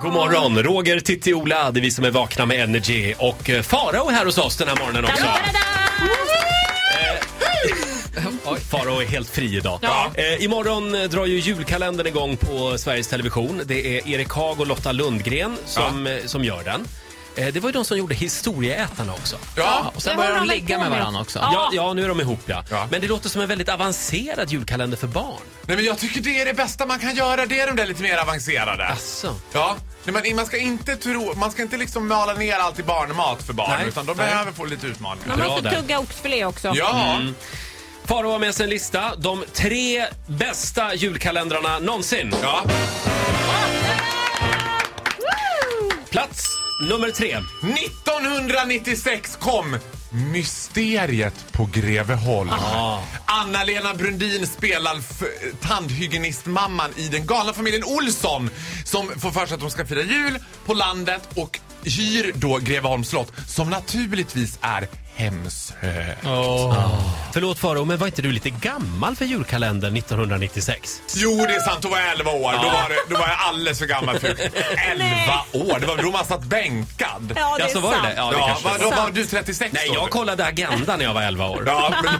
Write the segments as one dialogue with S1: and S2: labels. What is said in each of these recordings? S1: God morgon, Roger, Titti, Ola, det är vi som är vakna med Energy och eh, Farao är här hos oss den här morgonen också. Eh, Farao är helt fri idag.
S2: Ja.
S1: Eh, imorgon eh, drar ju julkalendern igång på Sveriges Television. Det är Erik Haag och Lotta Lundgren som, eh, som gör den. Eh, det var ju de som gjorde Historieätarna också.
S3: Ja, och
S2: Det
S3: sen börjar de
S2: håller de
S3: ligga
S2: på
S3: med
S2: med.
S3: varandra också.
S2: Ja.
S1: Ja, ja, nu är de ihop ja.
S3: Ja.
S1: Men det låter som en väldigt avancerad julkalender för barn.
S3: Nej men jag tycker det är det bästa man kan göra, det är de där lite mer avancerade.
S1: Asså.
S3: Ja. Nej, men man ska inte tro, man ska inte liksom mala ner allt i barnmat för barn
S1: Nej.
S3: utan de
S1: Nej.
S3: behöver få lite utmaningar.
S2: Man
S1: Bra
S2: måste
S1: där.
S2: tugga oxfilé också.
S3: Ja,
S1: Farao har med sig en lista. De tre bästa julkalendrarna någonsin.
S3: ja.
S1: Plats nummer tre.
S3: 1996 kom Mysteriet på Greveholm.
S1: Ah.
S3: Anna-Lena Brundin spelar f- tandhygienistmamman i den galna familjen Olsson som får för sig att de ska fira jul på landet och hyr då Greveholms slott som naturligtvis är hemsökt.
S1: Förlåt Farao, men var inte du lite gammal för julkalendern 1996?
S3: Jo, det är sant. Då var jag 11 år. Då, var det, då var jag alldeles för gammal för 11 år? Det var då man satt bänkad.
S2: Ja,
S1: Ja,
S2: det är
S1: så Alltså, var det
S2: sant.
S1: det? Ja,
S3: Ja,
S1: det kanske
S3: var,
S1: det
S3: då
S1: var.
S3: var du 36
S1: Nej,
S3: då?
S1: jag kollade Agenda när jag var 11 år.
S3: Ja, men då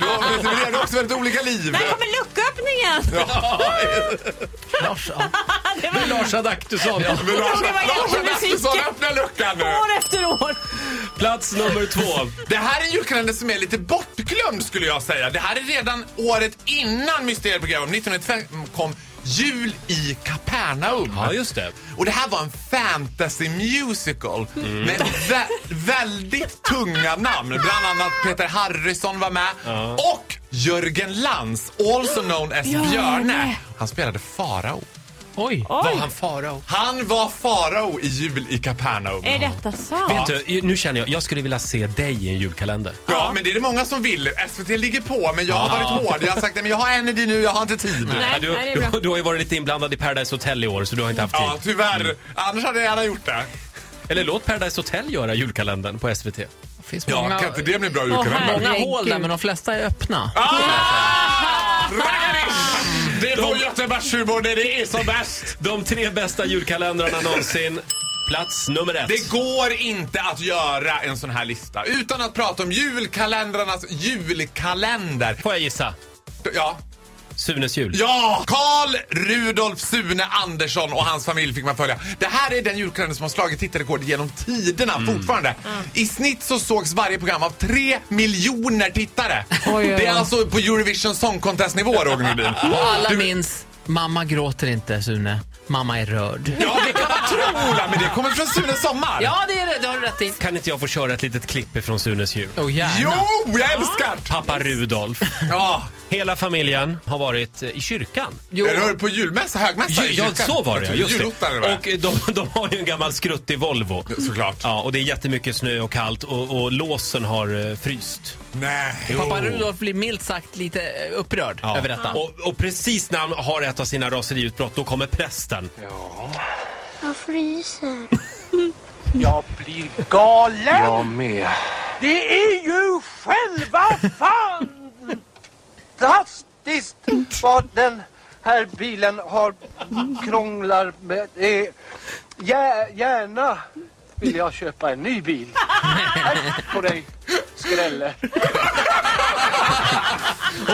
S3: men det blev också väldigt olika liv.
S2: Där kommer lucköppningen!
S3: Lars
S2: Det var
S1: Lars Adaktusson.
S2: vad jag gjorde
S3: Larsson
S2: med
S3: Axelsson,
S2: musiken.
S3: öppna luckan nu!
S2: år efter år.
S1: Plats nummer två.
S3: Det här är en julkalender som är lite bortglömd skulle jag säga. Det här är redan året innan Mysteriet på Greveholm. 1995 kom Jul i Kapernaum.
S1: Ja, just det.
S3: Och det här var en fantasy musical
S1: Mm.
S3: med vä väldigt tunga namn. Bland annat Peter Harrison var med och Jörgen Lantz, also known as Björne. Han spelade farao.
S1: Oj. Var han farao?
S3: Han var farao i Jul i Kapernaum.
S2: Är detta sant?
S1: Vet du, nu känner jag, jag skulle vilja se dig i en julkalender.
S3: Ja, men det är det många som vill. SVT ligger på, men jag har varit hård. Jag har sagt "Nej, men jag har Energy nu, jag har inte tid.
S2: Nej,
S1: du,
S2: nej, det är bra.
S1: du, du har ju varit lite inblandad i Paradise Hotel i år, så du har inte haft tid.
S3: Ja, tyvärr. Annars hade jag gärna gjort det.
S1: Eller låt Paradise Hotel göra julkalendern på SVT.
S3: Det finns många... Ja, kan inte det bli bra Mm. julkalender?
S2: här-
S3: Många...
S2: Många
S4: Många
S2: hål
S4: hål
S2: där,
S4: där,
S2: men
S4: men de flesta är öppna.
S3: Ah! Raggarish! Det är vår Göteborgshumor när det är som bäst.
S1: De tre bästa julkalendrarna någonsin. Plats nummer ett.
S3: Det går inte att göra en sån här lista utan att prata om julkalendrarnas julkalender.
S1: Får jag gissa?
S3: Ja,
S1: Sunes jul.
S3: Ja! Karl Rudolf Sune Andersson och hans familj fick man följa. Det här är den julkalender som har slagit tittarrekord genom tiderna
S1: Mm.
S3: fortfarande. I snitt så sågs varje program av tre miljoner tittare.
S4: oj,
S3: Det är
S4: oj.
S3: alltså på Eurovision Song Contest-nivå, Roger Nordin.
S4: Och alla minns Mamma gråter inte, Sune. Mamma är rörd.
S3: Ja, det kan man tro, Ola, men det kommer från Sunes sommar.
S4: Ja, det är det. Det har du rätt i.
S1: Kan inte jag få köra ett litet klipp ifrån Sunes jul?
S4: Oh, gärna.
S3: Jo, jag älskar det!
S1: Pappa Rudolf.
S3: Ja,
S1: Hela familjen har varit eh, i kyrkan.
S4: Jo.
S3: Eller hör du på julmässa, högmässa
S1: Ja,
S3: i kyrkan?
S1: så var det ja, just
S3: Julottare,
S1: det.
S3: va?
S1: Och eh, de, de har ju en gammal skruttig Volvo.
S3: Såklart.
S1: Ja, och det är jättemycket snö och kallt och, och låsen har eh, fryst.
S3: Nej.
S4: Pappa Rudolf blir milt sagt lite eh, upprörd
S1: Ja.
S4: över detta.
S1: Och, och precis när han har ett av sina raseriutbrott, då kommer prästen.
S5: Jag fryser.
S6: Jag blir galen!
S7: Jag med.
S6: Det är ju själva fantastiskt vad den här bilen har krånglar med. Det är- Gär, gärna vill jag köpa en ny bil. Här på dig, skrälle.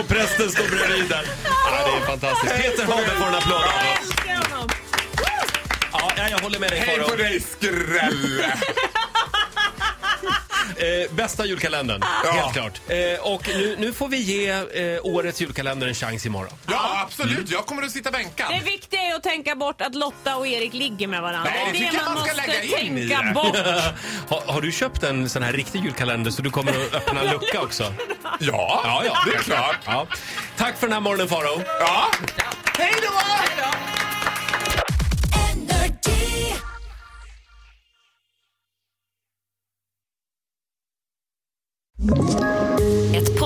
S1: Och prästen står bredvid där. Ja, det är fantastiskt. Peter Haber får en applåd av oss.
S2: Älskar honom.
S1: Ja, nej, jag håller med dig
S3: Hej på
S1: Farao.
S3: dig, skrälle!
S1: Eh, bästa julkalendern,
S8: Ah.
S1: helt klart. Eh, och nu, nu får vi ge eh, årets julkalender en chans imorgon.
S3: Ja, Mm. absolut. Jag kommer att sitta bänkad.
S2: Det viktiga är att tänka bort att Lotta och Erik ligger med varandra.
S3: Nej, det
S2: är
S3: tycker jag man ska lägga in i
S2: tänka
S3: det.
S2: bort.
S1: har, har du köpt en sån här riktig julkalender så du kommer att öppna en lucka också?
S3: Ja,
S1: Ja, ja.
S3: det är klart.
S1: Ja. Tack för den här morgonen Farao.
S3: Ja. Hej då!
S9: Ett